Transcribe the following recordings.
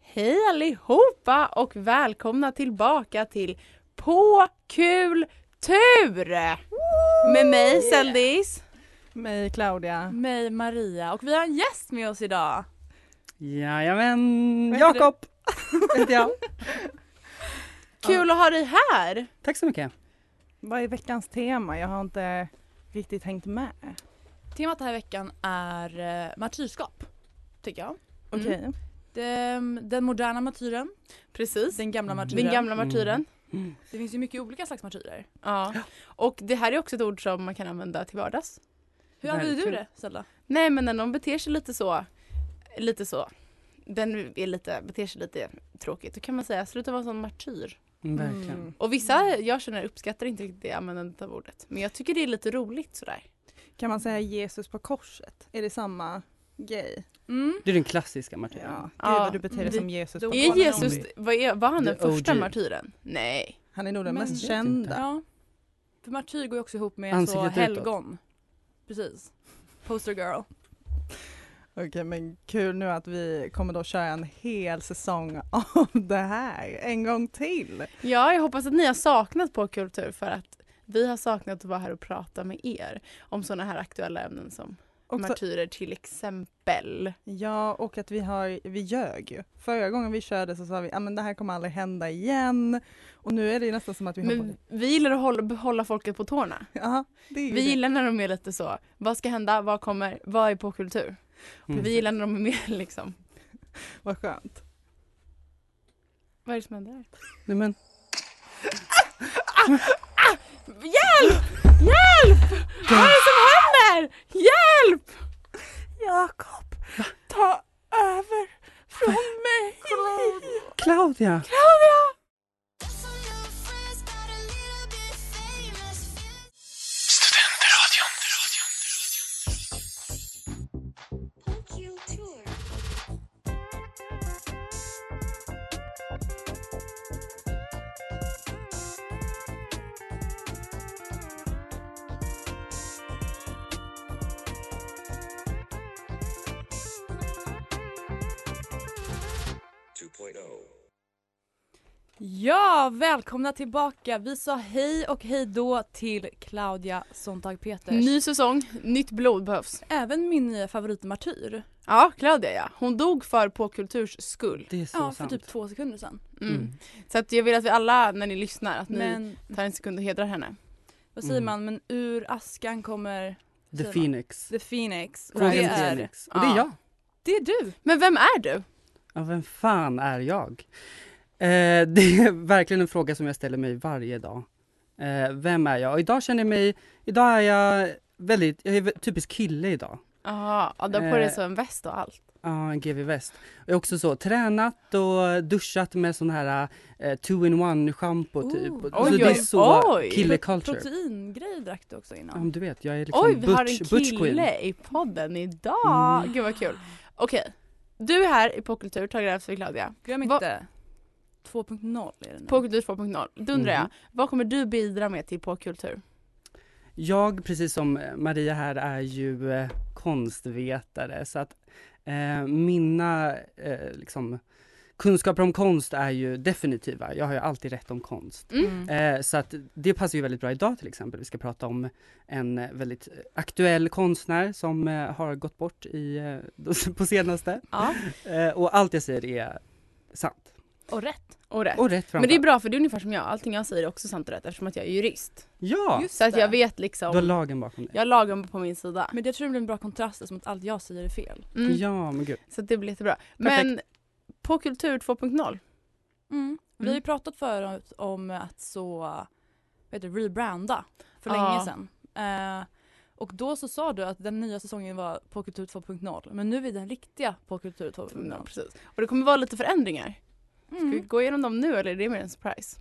Hej allihopa och välkomna tillbaka till På kul tur! Med mig Seldis. Mig Claudia. Mig Maria och vi har en gäst med oss idag. Jajamän, Vad heter Jakob heter jag. Kul att ha dig här! Tack så mycket. Vad är veckans tema? Jag har inte riktigt hängt med. Mm. Temat den här veckan är eh, martyrskap, tycker jag. Okej. Den, Ehm, den moderna martyren, Precis, den gamla martyren. den gamla martyren. Det finns ju mycket olika slags martyrer. Ja. Och det här är också ett ord som man kan använda till vardags. Hur använder du Verkligen. det, Zelda? Nej men när någon beter sig lite så, lite så, den är lite, beter sig lite tråkigt, då kan man säga sluta vara en sån martyr. Mm, Mm. Verkligen. Och vissa jag känner uppskattar inte riktigt det användandet av ordet. Men jag tycker det är lite roligt sådär. Kan man säga Jesus på korset? Är det samma grej? Mm. Det är den klassiska martyren. Ja. Gud Ja, vad du beter dig det- som Jesus. det- på Är korset. Jesus, var, är, var han den The första OG. martyren? Nej. Han är nog den Men mest vet kända. Ja. För martyr går ju också ihop med så Ansiktet utåt. helgon. Precis. Poster girl. Okej men kul nu att vi kommer då köra en hel säsong av det här en gång till. Ja, jag hoppas att ni har saknat på kultur för att vi har saknat att vara här och prata med er om sådana här aktuella ämnen som Och så, martyrer till exempel. ja och att vi, har, vi ljög ju. Förra gången vi körde så sa vi att det här kommer aldrig hända igen. Och nu är det ju nästan som att vi hoppar... Men vi gillar att hålla, behålla folket på tårna. Ja, det är ju Vi det. gillar när de är lite så, vad ska hända, vad kommer, vad är på kultur? Mm. Vi gillar när de är mer liksom, Vad skönt. vad är det som händer? Nej, men, Hjälp! Hjälp! Vad är det som händer? Hjälp! Jakob! Ta över från mig! Claudia! Ja, välkomna tillbaka. Vi sa hej och hej då till Claudia Sontag Peters. Ny säsong, nytt blod behövs. Även min nya favoritmartyr. Ja, Claudia ja. Hon dog för på kulturs skull. Det är så Ja, för sant. typ två sekunder sedan. Mm. Så att jag vill att vi alla, när ni lyssnar, att ni Men tar en sekund och hedrar henne. vad säger Mm. man, men ur askan kommer The Säger man. Phoenix. The Phoenix. Och Frågan det om är, Phoenix. Och det är Ja. jag. det är du. Men vem är du? Ja, vem fan är jag? Eh, det är verkligen en fråga som jag ställer mig varje dag. Eh, vem är jag? Och idag känner jag mig... Idag är jag väldigt... Jag är typisk kille idag. Jaha, ja, du har på Eh. dig så en väst och allt. Ja, en GV Väst. Jag har också så tränat och duschat med sån här eh, two-in-one shampoo typ. Ooh. så Oj, det är oj, så oj. kille culture. Oh. Proteingrej drack du också Ja, men innan. du vet, jag är liksom Oj, vi har en butch, butch queen. kille i podden idag! Mm. Gud vad kul. Okej, du är här i Popkultur, taggad efter Mm. Claudia. Glöm Vad- inte. 2.0 är det nu. Popkultur 2.0. Då undrar Mm. jag, vad kommer du bidra med till Popkultur? Jag, precis som eh, Maria här, är ju eh, konstvetare så att eh, mina eh, liksom, kunskaper om konst är ju definitiva. Jag har ju alltid rätt om konst. Mm. Eh, så att det passar ju väldigt bra idag till exempel. Vi ska prata om en eh, väldigt eh, aktuell konstnär som eh, har gått bort i, eh, på senaste. Ja, Eh, och allt jag säger är sant. och rätt. Och rätt. Och rätt Men det är framför. bra för det är ungefär som jag, allting jag säger är också sant och rätt eftersom att jag är jurist. Ja! Så att jag det. vet Du har liksom, lagen bakom dig. jag har lagen på min sida. Men jag tror det blir en bra kontrast som att allt jag säger är fel. Mm. Ja, men gud. Så att det blir jättebra. Men på Kultur 2.0, Vi Mm. har ju pratat förut om att så, vet du, rebranda för Ja. länge sedan. Eh, och då så sa du att den nya säsongen var På kultur 2.0 men nu är den riktiga På kultur 2.0. precis. Och det kommer vara lite förändringar. Ska vi Mm. gå igenom dem nu eller är det mer en surprise?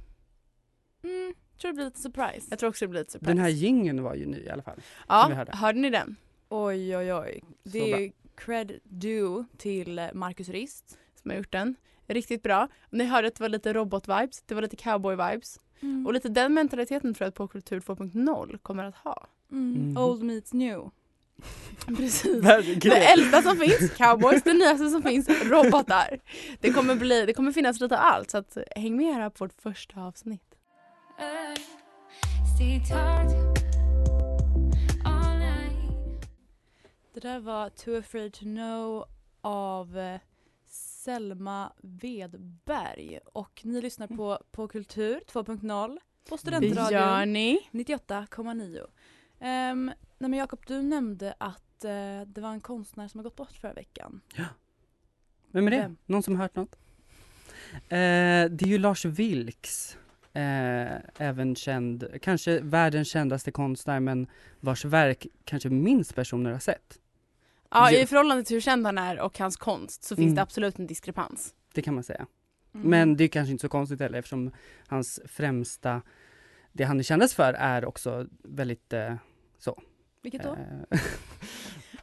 Mm. Tror det blir lite surprise. Jag tror också det blir lite surprise. Den här jingeln var ju ny i alla fall. ja, vi hörde. hörde ni den? Oj oj oj. Det bra. är ju cred due till eh, Marcus Rist. Som har gjort den. Riktigt bra. Ni hörde att det var lite robot-vibes, det var lite cowboy-vibes. Mm. Och lite den mentaliteten tror jag att På Kultur 2.0 kommer att ha. Mm. Mhm. Old meets new. Precis. Verkligen. Det äldsta som finns, cowboys, det nyaste som finns, robotar. Det kommer, bli, det kommer finnas lite av allt så att häng med här på vårt första avsnitt. Det där var Too afraid to know av eh, Selma Wedberg och ni lyssnar på På kultur 2.0 Det på gör Studentradion ni. 98,9. Um, nej men Jakob, du nämnde att eh, det var en konstnär som har gått bort förra veckan. Vem är det? Vem? Någon som har hört något? Eh, det är ju Lars Vilks. Eh, även känd, kanske världens kändaste konstnär men vars verk kanske minst personer har sett. Ja, Ja. I förhållande till hur känd han är och hans konst så finns Mm. det absolut en diskrepans. Det kan man säga. Men det är kanske inte så konstigt heller eftersom hans främsta, det han är kändast för är också väldigt eh, Vilket då? eh,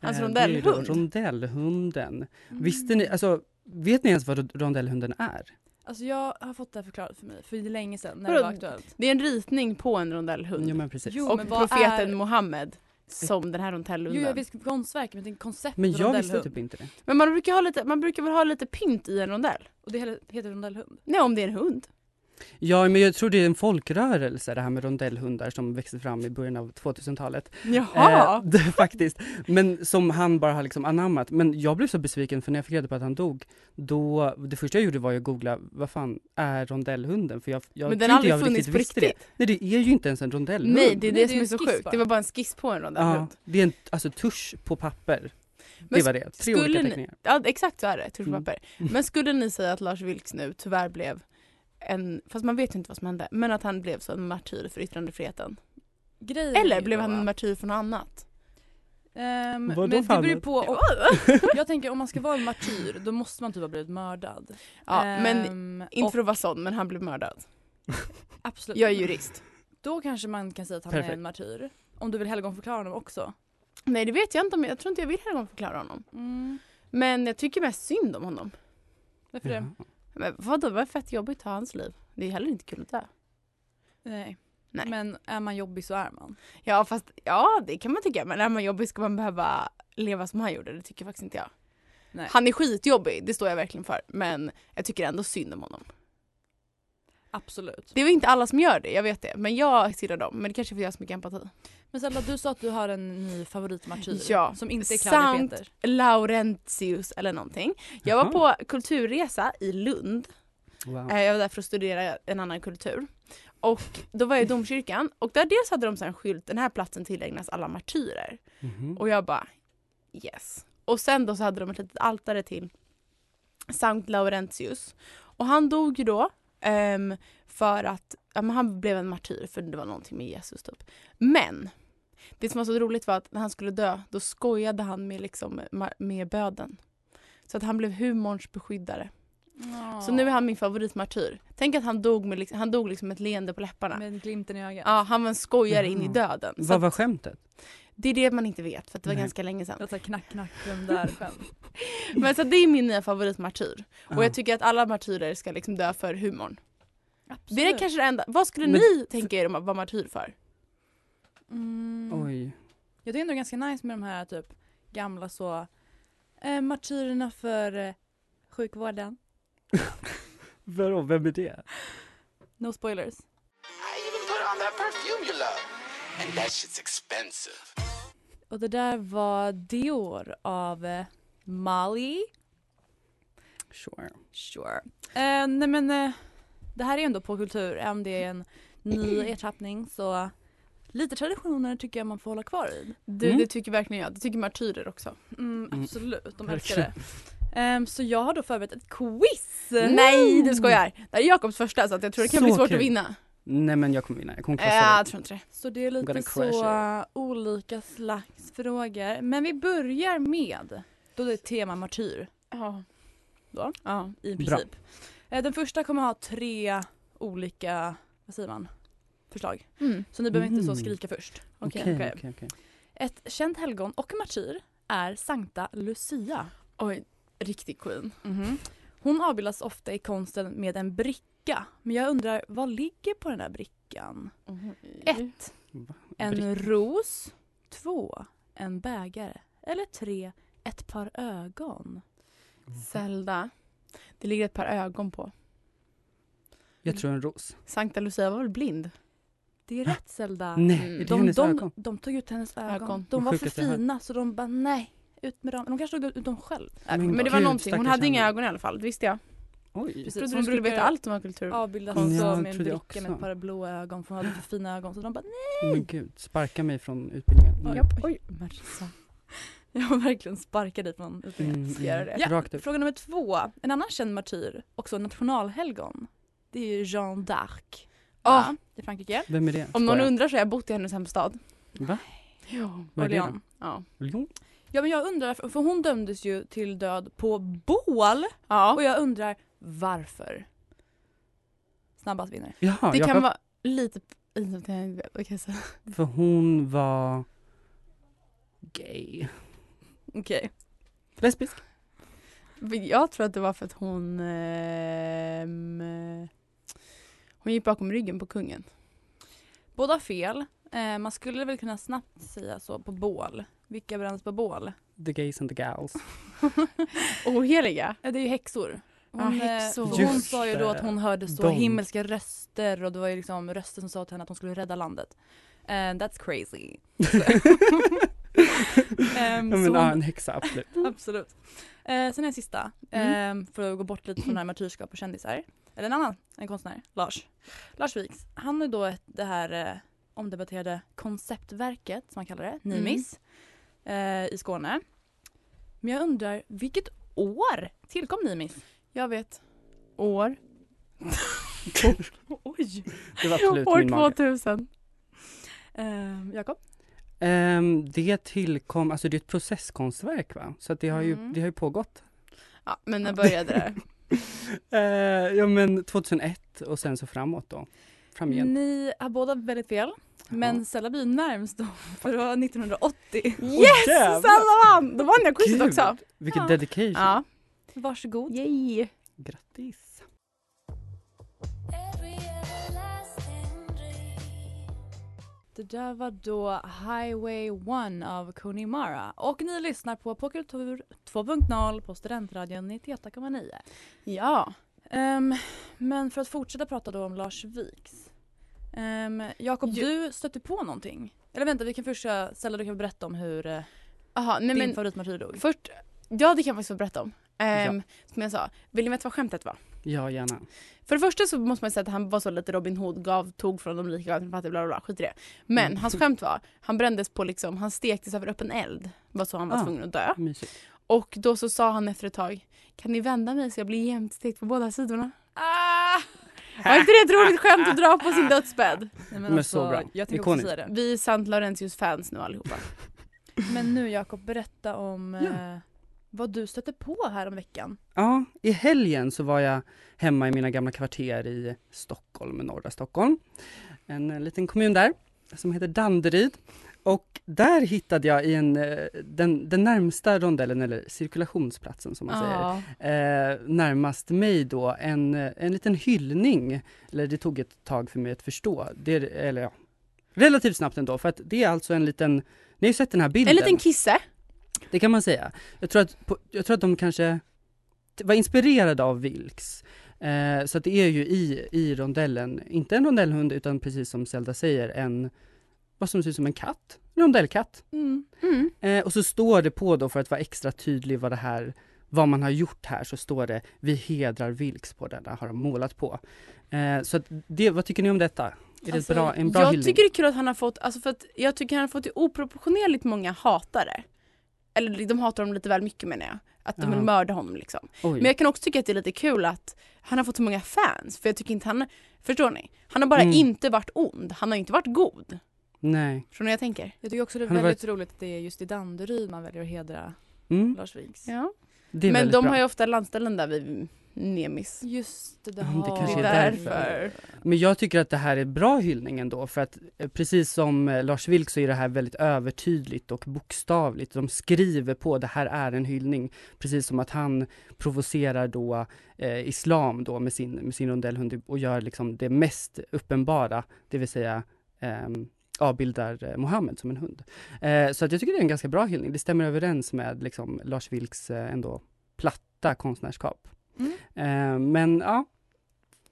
Hans eh, rondellhund. det är ju Rondellhunden. Mm. Visste ni, alltså vet ni ens vad rondellhunden är? Alltså jag har fått det här förklarat för mig för länge sedan när Vadå? det var aktuellt. Det är en ritning på en rondellhund. Jo men precis. Jo, och men vad profeten är- Mohammed som den här Jo jag rondellhunden. visste konstverk men det är konceptet Men jag visste rondellhund. typ inte det. Men man brukar, ha lite, man brukar väl ha lite pynt i en rondell? Och det heter- heter rondellhund. Nej, om det är en hund. Ja, men jag tror det är en folkrörelse det här med rondellhundar som växte fram i början av 2000-talet. Eh, det, faktiskt. Men som han bara har liksom anammat. Men jag blev så besviken för när jag fick reda på att han dog, då, det första jag gjorde var att googla, vad fan är rondellhunden? För jag, jag men den tror har aldrig inte jag funnits på visste riktigt. Det. Nej, det är ju inte ens en rondellhund. Nej, det är det Nej, det som är är en så skiss sjukt. bara. Det var bara en skiss på en Ja, rondellhund. det är en alltså, tusch på papper. Men det var det, tre skulle olika ni- teckningar. Ja, exakt så är det. Tusch på Mm. papper. Men skulle ni säga att Lars Vilks nu tyvärr blev en, fast man vet ju inte vad som hände, men att han blev så en martyr för yttrandefriheten. Grejen är Eller ju blev då han en att- martyr för något annat? Ehm, Vadå men det beror ju fallet? på. Om, jag tänker om man ska vara en martyr då måste man typ ha blivit mördad. Ja, men Ehm, inte och för att vara sån, men han blev mördad. absolut. Jag är jurist. Då kanske man kan säga att han är Perfekt. en martyr. Om du vill helgonförklara honom också. Nej, det vet jag inte, men jag tror inte jag vill heller förklara honom. Mm. Men jag tycker mest synd om honom. Varför det? Ja. Men vadå, det var fett jobbigt att ha hans liv. Det är heller inte kul att dö. Nej. Nej. Men är man jobbig så är man. Ja fast ja det kan man tycka men är man jobbig ska man behöva leva som han gjorde det tycker faktiskt inte jag. Nej. Han är skitjobbig det står jag verkligen för men jag tycker ändå synd om honom. Absolut. Det är väl inte alla som gör det jag vet det men jag tillhör dem men det kanske är för att jag har så mycket empati. Men Zelda du sa att du har en ny favoritmartyr. Ja, Som inte är samt- Claudia Peter. Laurentius eller någonting. Jag var Jaha. på kulturresa i Lund. Wow. Eh, Jag var där för att studera en annan kultur. Och då var jag i domkyrkan och där dels hade de så här en skylt den här platsen tillägnas alla martyrer. Mhm. Och jag bara yes. Och sen då så hade de ett litet altare till Sankt Laurentius. Och han dog ju då ehm, för att ja, men han blev en martyr för det var någonting med Jesus typ. Men det som var så roligt var att när han skulle dö då skojade han med, liksom, ma- med böden. Så att han blev humorns beskyddare. Så nu är han min favoritmartyr. Tänk att han dog med liksom, han dog liksom ett leende på läpparna. Med glimten i ögat. Ja, han var en skojare in i Jaha. döden. Så Mm. Vad att var skämtet? det är det man inte vet för att det var Nej. ganska länge sedan. Jag tar knack knack vem där själv. Men så det är min nya favoritmartyr. Och Ja. jag tycker att alla martyrer ska liksom dö för humorn. Absolut. Det är kanske det enda. Vad skulle Men- ni tänka er om att vara martyr för? Mm. Oj. Jag tycker ändå det är ganska nice med de här typ gamla så eh, martyrerna för eh, sjukvården. Vadå, vem är det? No spoilers. I even put on that perfume you love. And that shit's expensive. Och det där var Dior av eh, Molly. Sure. Sure. Eh, nej men eh, det här är ändå på kultur, även om det är en ny ertappning så lite traditioner tycker jag man får hålla kvar i. Du, Mm. det tycker verkligen jag. Det tycker martyrer också. Mm, Mm. absolut, de Verkligen. älskar det. Ehm, så jag har då förberett ett quiz. Nej, du skojar. Det här är Jakobs första så att jag tror det kan Mm. Så bli svårt kul. att vinna. Nej men jag kommer vinna, jag kommer Eh, krossa jag dig. tror inte det. Så det är gonna lite crush så eh, olika slags frågor. Men vi börjar med, då det är tema martyr Ja. Då? Ja. i Bra. princip. Eh, den första kommer ha tre olika, vad säger man, förslag. Mm. Så ni behöver inte så Mm. skrika först. Okej. Okej, okej. okej, okej. Ett känt helgon och martyr är Sankta Lucia. Mhm. Oj, riktig queen. Hon avbildas ofta i konsten med en bricka. Men jag undrar, vad ligger på den där brickan? Ett. Ett, Va? En Britt- ros. Två, En bägare. Eller tre, Ett par ögon. Zelda. Det ligger ett par ögon på. Jag tror en ros. Sankta Lucia var väl blind? Det är rätt Zelda. Nej, Mm. är det De, hennes de, ögon? de tog ut hennes ögon. Ögon. De var för Sjukaste jag hört. fina så de bara nej, ut med dem. De kanske tog ut dem själv. Nej, Men Men, det var Mm. gud, någonting. Hon stackars hade inga henne. ögon i alla fall, det visste jag. Oj. Precis. Trodde Hon du skulle veta brukar- allt om arkitektur. Avbildas Konstigt. så Ja, med en trodde jag bricka med också. ett par blå ögon för hon hade för fina ögon så de bara Men Mm. gud, sparka mig från utbildningen. Mm. Japp. Oj, Marissa. Jag har verkligen sparkat dit från utbildningen. Mm, göra mm. Ja, Rakt upp. Fråga nummer två. En annan känd martyr, också nationalhelgon. Det är ju Jeanne d'Arc. Ah. Ja, I Frankrike. Vem är det? Om någon Skojar. undrar så har jag bott i hennes hemstad. Va? Ja. Vad är det Orléans. då? Ja. Lyon? Ja men jag undrar, för hon dömdes ju till död på bål. Och jag undrar varför? Snabbast vinner. Jaha, Det jag kan vara lite... Det kan jag inte veta, okej, så. För hon var gay. Okej. Lesbisk. Men Jag tror att det var för att hon... ehm, Eh, hon gick bakom ryggen på kungen. Båda fel. Eh, man skulle väl kunna snabbt säga så på bål. Vilka bränns på bål? The gays and the gals. Oheliga? Ja, det är ju häxor. Hon, Ja, eh, häxor. för hon Just sa ju då det. att hon hörde så De. himmelska röster och det var ju liksom röster som sa till henne att hon skulle rädda landet. And that's crazy. Ehm, Ja, så men, hon- ja, en häxa, absolut. Absolut. Eh, sen en Mm. sista, eh, för att gå bort lite från det här martyrskap och kändisar. Eller en annan, en konstnär, Lars. Lars Vilks. Han är då ett, det här eh, omdebatterade konceptverket, som man kallar det, Mm. Nimis, eh, i Skåne. Men jag undrar, vilket år tillkom Nimis? Jag vet. År? Oj! Det var absolut min År mage. 2000. Eh, Jakob? Ehm, det tillkom, alltså det är ett processkonstverk va? Så att det har ju, Mm. det har ju pågått. Ja, men när började det? Eh, ja men 2001 och sen så framåt då. Framgent. Ni har båda väldigt fel. Mm, Men Sella blir närmst då, för det var 1980. Yes! Salla vann! Då vann jag quizet Gud, också. Vilket Ja. dedication. Ja. Varsågod. Yay. Grattis. Det där var då Highway 1 av Coney Mara och ni lyssnar på Påkultur 2.0 på Studentradion 98,9. Ja. Ehm, men för att fortsätta prata då om Lars Viks. Um, Jakob, Ju- du stötte på någonting? Eller vänta, vi kan först köra, Stella du kan berätta om hur eh, Aha, nej din men favoritmartyr dog. först... Ja, det kan jag faktiskt få berätta om. Ehm, Som jag sa, vill ni veta vad skämtet var? Ja gärna. För det första så måste man säga att han var så lite Robin Hood, gav, tog från de rika, gav till de fattiga, bla bla bla, skit i det. Men Mm. hans skämt var, han brändes på liksom, han stektes över öppen eld. Det var så han var Ah. tvungen att dö. Mysigt. Och då så sa han efter ett tag, kan ni vända mig så jag blir jämnt stekt på båda sidorna? Ah! Var inte det ett roligt skämt att dra på sin dödsbädd? Nej, alltså, Men så bra. Jag tänker också Ikoniskt. säga det. Vi är Sant Laurentius fans nu allihopa. Men nu Jakob, berätta om Ja. eh, vad du stötte på här om veckan. Ja, i helgen så var jag hemma i mina gamla kvarter i Stockholm, norra Stockholm. En eh, liten kommun där som heter Danderyd. Och där hittade jag i en, eh, den, den närmsta rondellen, eller cirkulationsplatsen som man säger, Ja. eh, närmast mig då en, eh, en liten hyllning. Eller det tog ett tag för mig att förstå. Det, är- eller ja, relativt snabbt ändå, för att det är alltså en liten, ni har ju sett den här bilden. En liten kisse. Det kan man säga. Jag tror att, på, jag tror att de kanske var inspirerad av Vilks. Eh, så att det är ju i, i rondellen, inte en rondellhund utan precis som Zelda säger, en, vad som ser ut som en katt, en rondellkatt. Mm. Mm. Eh, och så står det på då, för att vara extra tydlig vad det här vad man har gjort här, så står det vi hedrar Vilks på denna, har de målat på. Eh, så att det, vad tycker ni om detta? Är Alltså, det bra, en bra jag hyllning? tycker det är kul att han har fått, alltså för att jag tycker han har fått oproportionerligt många hatare. Eller de hatar honom lite väl mycket menar jag. Att de vill Ja. mörda honom liksom. Oj. Men jag kan också tycka att det är lite kul att han har fått så många fans. För jag tycker inte han, förstår ni? Han har bara Mm. inte varit ond, han har inte varit god. Nej. Förstår ni vad jag tänker? Jag tycker också det är Han har väldigt roligt att det är just i Danderyd man väljer att hedra Mm, Lars Vilks. Ja. det är Men väldigt de bra. har ju ofta landställen där vid Nemis. Just det, det Mm, det har- kanske är det därför. Men jag tycker att det här är bra hyllning ändå för att eh, precis som eh, Lars Vilks så är det här väldigt övertydligt och bokstavligt. De skriver på det här är en hyllning. Precis som att han provocerar då eh, islam då med sin, med sin rondellhund och gör liksom det mest uppenbara, det vill säga ehm, avbildar eh, Mohammed som en hund. Eh, så att jag tycker det är en ganska bra hyllning. Det stämmer överens med liksom, Lars Vilks eh, ändå platta konstnärskap. Mm. Eh, men ja,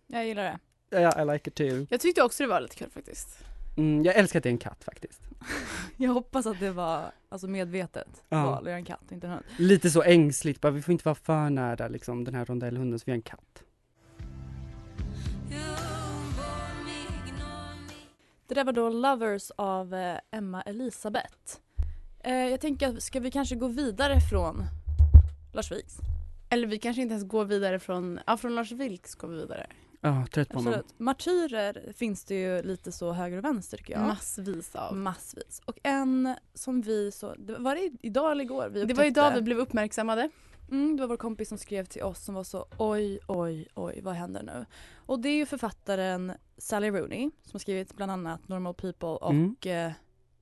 Jag gillar det. I like it too. Jag tyckte också det var lite kul faktiskt. Mm, jag älskar att det är en katt faktiskt. Jag hoppas att det var alltså, medvetet Ja. val, jag är en katt, inte en hund. Lite så ängsligt, bara, vi får inte vara för nära liksom, den här rondellhunden så vi är en katt. Det där var då Lovers av eh, Emma Elisabeth. Eh, jag tänker, att ska vi kanske gå vidare från Lars Vilks? Eller vi kanske inte ens går vidare från, ja från Lars Vilks går vi vidare. Ja, trött på honom. Absolut. Martyrer finns det ju lite så höger och vänster tycker jag. Massvis av. Massvis. Och en som vi så, det var- var det idag eller igår? Vi Det var upptäckte? idag vi blev uppmärksammade. Mm, det var vår kompis som skrev till oss som var så oj, oj, oj, vad händer nu? Och det är ju författaren Sally Rooney som har skrivit bland annat Normal People och Mm. eh,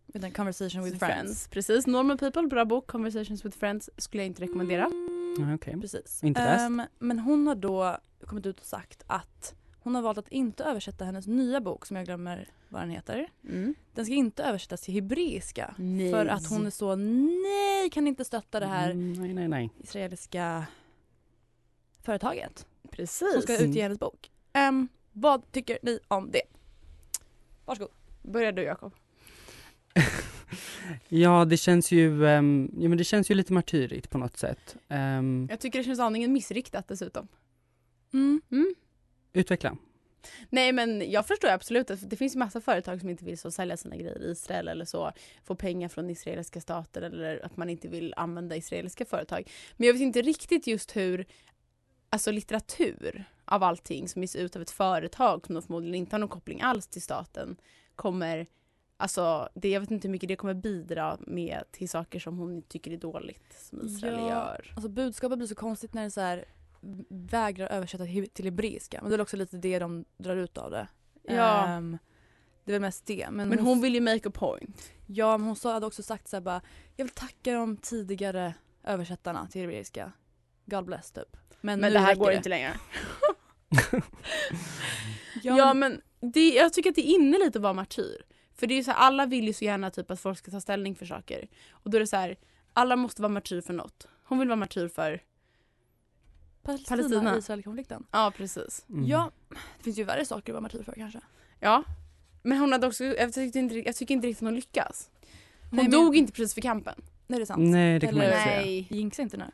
vet inte, Conversation with Friends. Precis, Normal People, bra bok. Conversations with Friends skulle jag inte rekommendera. Mm. Ja, okej. Precis. Inte läst. Ehm, men hon har då kommit ut och sagt att hon har valt att inte översätta hennes nya bok som jag glömmer vad den heter. Den ska inte översättas till hebreiska. Mm. Nej. För att hon är så nej, kan inte stötta det här Mm, nej, nej, nej. israeliska företaget Precis. som ska Mm. utge hennes bok. Ehm, vad tycker ni om det? Varsågod. Börjar du Jakob? Ja, det känns ju, ehm, ja, men det känns ju lite martyrigt på något sätt. Ehm, Jag tycker det känns aningen missriktat dessutom. Mm. Mm. utveckla. Nej men jag förstår absolut att det finns ju massa företag som inte vill så sälja sina grejer i Israel eller så. Få pengar från israeliska stater eller att man inte vill använda israeliska företag. Men jag vet inte riktigt just hur, alltså litteratur av allting som ges ut av ett företag som då förmodligen inte har någon koppling alls till staten kommer, alltså det, jag vet inte hur mycket det kommer bidra med till saker som hon tycker är dåligt som Israel Ja. gör. Alltså budskapet blir så konstigt när det så här vägrar översätta he- till hebreiska. Men det är väl också lite det de drar ut av det. Ja. Ehm, det är väl mest det. Men, Eh, Men hon vill ju make a point. Ja, men hon sa, hade också sagt så här bara, jag vill tacka de tidigare översättarna till hebreiska. God bless typ. Men Men, nu det här räcker går inte längre. Ja, Ja men, men det, jag tycker att det är inne lite att vara martyr. För det är ju så här, alla vill ju så gärna typ att folk ska ta ställning för saker. Och då är det så här, alla måste vara martyr för något. Hon vill vara martyr för, Palestina, Palestina. Israel-konflikten. ja precis. Mm. Ja, det finns ju värre saker att vara martyr för kanske. Ja. Men hon hade också, jag tycker inte, jag tycker inte riktigt hon lyckas. Hon Nej, men- dog inte precis för kampen. Nej, det är sant. Nej, det kan man Eller- inte säga. Jinxa inte nu.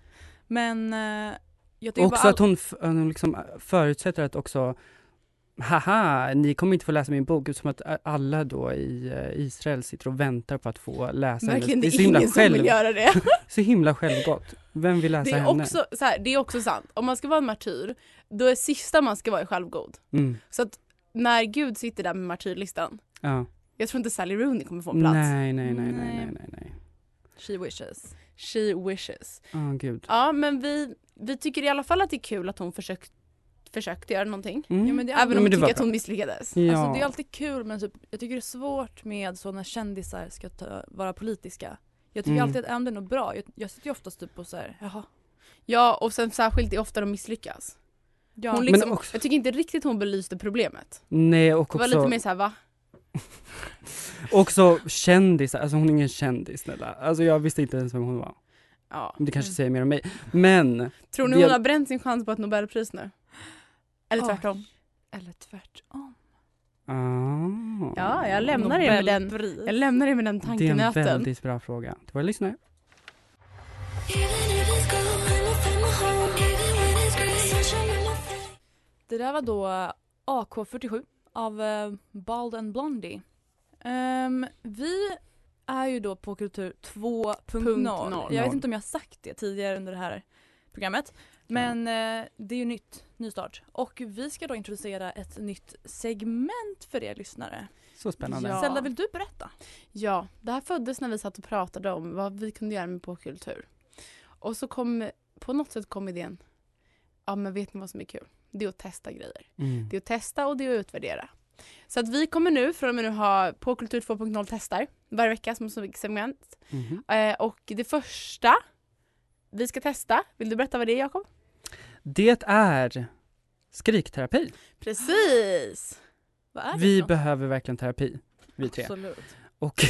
Men eh, jag tycker Också bara att hon, f- hon liksom förutsätter att också, haha, ni kommer inte få läsa min bok, som att äh, alla då i eh, Israel sitter och väntar på att få läsa Verkligen, hennes. det så är himla ingen som vill göra det. Så himla självgott. Vem vill läsa Det är, henne? också, så här, det är också sant. Om man ska vara en martyr, då är sista man ska vara självgod. Mm, Så att när Gud sitter där med martyrlistan, ja. jag tror inte Sally Rooney kommer få en plats. Nej, nej, nej, nej, nej, Nej. nej, nej. She wishes. She wishes. Åh gud. Ja, men vi, vi tycker i alla fall att det är kul att hon försökt, försökte göra någonting. Mm. Ja, men det är Även om vi det var tycker att bra. hon misslyckades. Ja. Alltså det är alltid kul men typ, jag tycker det är svårt med så när kändisar ska ta, vara politiska. Jag tycker Mm. alltid att äm, det är något bra. Jag, jag sitter ju oftast typ och så här, jaha. Ja, och sen särskilt det är ofta de misslyckas. Ja. Hon Men liksom, också- Jag tycker inte riktigt hon belyste problemet. Mm. Nej, och Det var också, lite mer såhär, va? också kändisar. Alltså hon är ingen kändis snälla. Alltså jag visste inte ens vem hon var. Ja. Men Det kanske säger mer om mig. Men Tror ni Det- hon har bränt sin chans på ett Nobelpris nu? Eller Oj. tvärtom? Eller tvärtom. Ah. Ja, jag lämnar er med den, Nobelpris. jag lämnar er med den Det är en tankenöten. väldigt bra fråga till våra lyssnare. Det där var då eh, AK47 av eh, Bald and Blondie. Ehm, vi är ju då på kultur 2.0. Punkt Jag vet noll. inte om jag har sagt det tidigare under det här programmet. Men eh, det är ju nytt, nystart. Och vi ska då introducera ett nytt segment för er lyssnare. Så spännande. Ja. Zelda, vill du berätta? Ja, det här föddes när vi satt och pratade om vad vi kunde göra med popkultur. Och så kom, på något sätt kom idén, ja men vet ni vad som är kul? Det är att testa grejer. Mm. Det är att testa och det är att utvärdera. Så att vi kommer nu, från och med nu ha popkultur 2.0 testar varje vecka som som segment. Mhm. Eh, och det första vi ska testa, vill du berätta vad det är Jakob? Det är skrikterapi. Precis! Vad är det Vi för något? behöver verkligen terapi, vi tre. Absolut. Och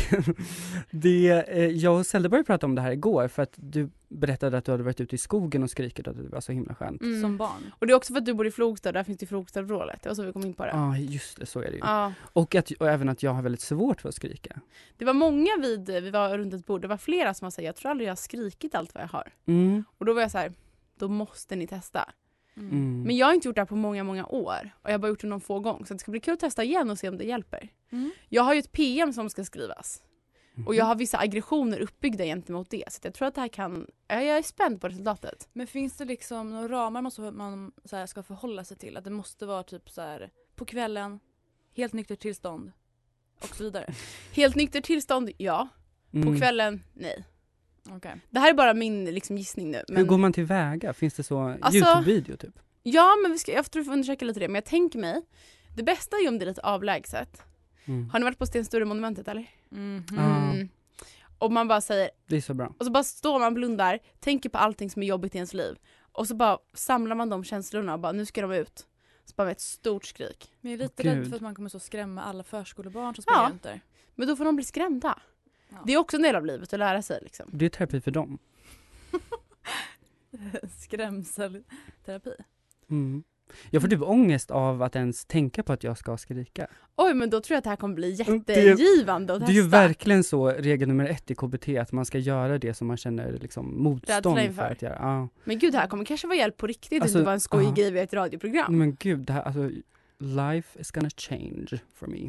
det, eh, jag och Zelda började prata om det här igår för att du berättade att du hade varit ute i skogen och skrikit och att det var så himla skönt. Mm. Som barn. Och det är också för att du bor i Flogstad, där finns det Flogstadvrålet. Det var så vi kom in på det. Ja, Ja. ah, just det, så är det ju. Och, att, och även att jag har väldigt svårt för att skrika. Det var många vid, vi var runt ett bord, det var flera som sa jag tror aldrig jag har skrikit allt vad jag har. Mm. Och då var jag så här, då måste ni testa. Mm. Men jag har inte gjort det här på många, många år. Och jag har bara gjort det någon få gång. Så det ska bli kul att testa igen och se om det hjälper. Mm. Jag har ju ett PM som ska skrivas. Och Mm. jag har vissa aggressioner uppbyggda gentemot det. Så att jag tror att det här kan, ja, jag är spänd på resultatet. Men finns det liksom några ramar man, så, man så här, ska förhålla sig till? Att det måste vara typ så här på kvällen, helt nyktert tillstånd och så vidare. Helt nykter tillstånd, ja. På Mm. kvällen, nej. Okej. Det här är bara min liksom, gissning nu. Hur Men, går man tillväga? Finns det så Alltså- Youtube-video typ? ja, men vi ska, jag tror vi får undersöka lite det. Men jag tänker mig, det bästa är ju om det är lite avlägset. Mm. Har Mm. ni varit på Sten Sture-monumentet eller? Mhm. Ja. Och man bara säger, Det är så bra. Och så bara står man och blundar, tänker på allting som är jobbigt i ens liv. Och så bara samlar man de känslorna och bara nu ska de ut. Så bara med ett stort skrik. Men jag är lite Gud. rädd för att man kommer så skrämma alla förskolebarn som Ja. springer runt där. Men då får de bli skrämda. Ja. Det är också en del av livet att lära sig liksom. Det är terapi för dem. Skrämselterapi. Mm. Jag får typ ångest av att ens tänka på att jag ska skrika. Oj men då tror jag att det här kommer bli det är- jättegivande att Det testa. är ju verkligen så regel nummer ett i KBT, att man ska göra det som man känner liksom motstånd för inför. att göra. Ja. Men gud det här kommer kanske vara hjälp på riktigt, Alltså, inte bara en skojig ja. grej via ett radioprogram. Men gud, det här, alltså, life is gonna change for me.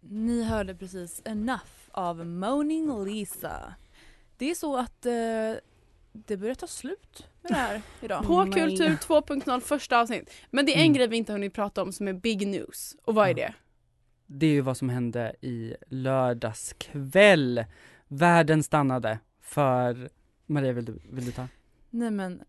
Ni hörde precis Enough av Moaning Lisa. Det är så att eh, det börjar ta slut med det här idag. Mm. På Kultur 2.0 första avsnitt. Men det är en Mm. grej vi inte har hunnit prata om som är big news. Och vad är Ja. det? Det är ju vad som hände i lördags kväll. Världen stannade för, Maria vill du, vill du ta? Nej men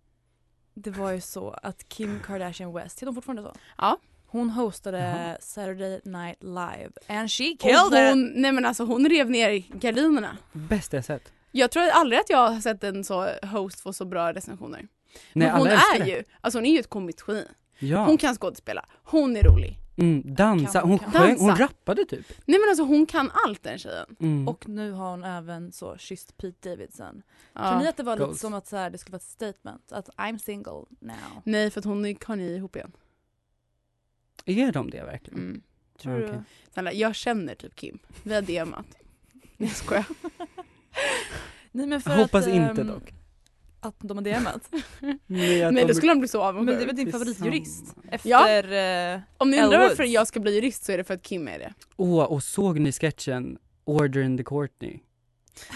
det var ju så att Kim Kardashian West, heter hon fortfarande så? Ja. Hon hostade Jaha. Saturday Night Live and she Och killed it! hon, nej men alltså hon rev ner gardinerna. Bästa jag sett. Jag tror aldrig att jag har sett en så host få så bra recensioner. Nej, men hon alla älskar är det. ju, alltså hon är ju ett komiskt geni. Ja. Hon kan skådespela, hon är rolig. Mm, dansa, Kan- hon kan- sjöng, hon Dansa. rappade typ. Nej men alltså hon kan allt den tjejen. Mm. Och nu har hon även så kysst Pete Davidson. Tror ni Ja. att det var lite Goals. som att så här, det skulle vara ett statement? Att I'm single now. Nej för att hon är- har ni ihop igen. Är de det verkligen? Mm. Tror Ja, du? okej. Snälla, jag känner typ Kim, vi har DMat. Nej jag skojar. Nej, men för Jag Hoppas att, inte ehm, dock. Att de har DMat. Nej, att Nej de- då skulle han bli så men det är avundsjuk. väl din Tillsammans. favoritjurist? Ja. Efter... eh, Om ni Elle undrar varför Woods. jag ska bli jurist så är det för att Kim är det. Åh, och såg ni sketchen Order in the Courtney?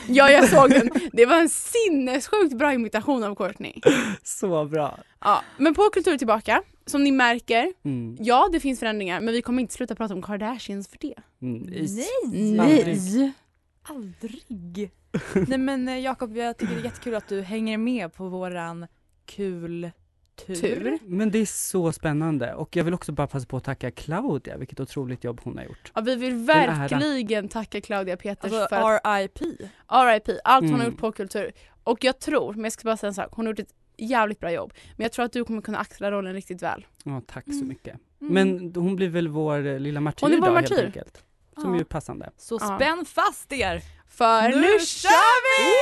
Ja jag såg den, det var en sinnessjukt bra imitation av Courtney. Så bra. Ja. Men på Kultur tillbaka, som ni märker, Mm. ja det finns förändringar men vi kommer inte sluta prata om Kardashians för det. Mm. is- Aldrig. Nej! Aldrig. Nej men eh, Jakob, jag tycker det är jättekul att du hänger med på våran kul tur. Tur. Men det är så spännande och jag vill också bara passa på att tacka Claudia, vilket otroligt jobb hon har gjort. Ja, vi vill är ära. verkligen tacka Claudia Peters Alltså för att, RIP. RIP, allt hon har Mm. gjort på kultur. Och jag tror, men jag ska bara säga en sak, hon har gjort ett jävligt bra jobb. Men jag tror att du kommer kunna axla rollen riktigt väl. Ja, tack så Mm. mycket. Mm. Men hon blir väl vår eh, lilla martyr Hon är vår idag martyr. helt enkelt. som Ja. ju är passande. Så Ja. spänn fast er! För Nu nu, kör kör vi!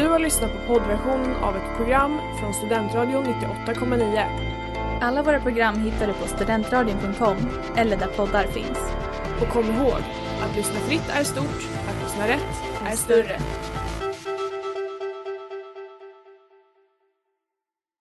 Du har lyssnat på poddversionen av ett program från Studentradion 98,9. Alla våra program hittar du på studentradion.com eller där poddar finns. Och kom ihåg, att lyssna fritt är stort, att lyssna rätt är större.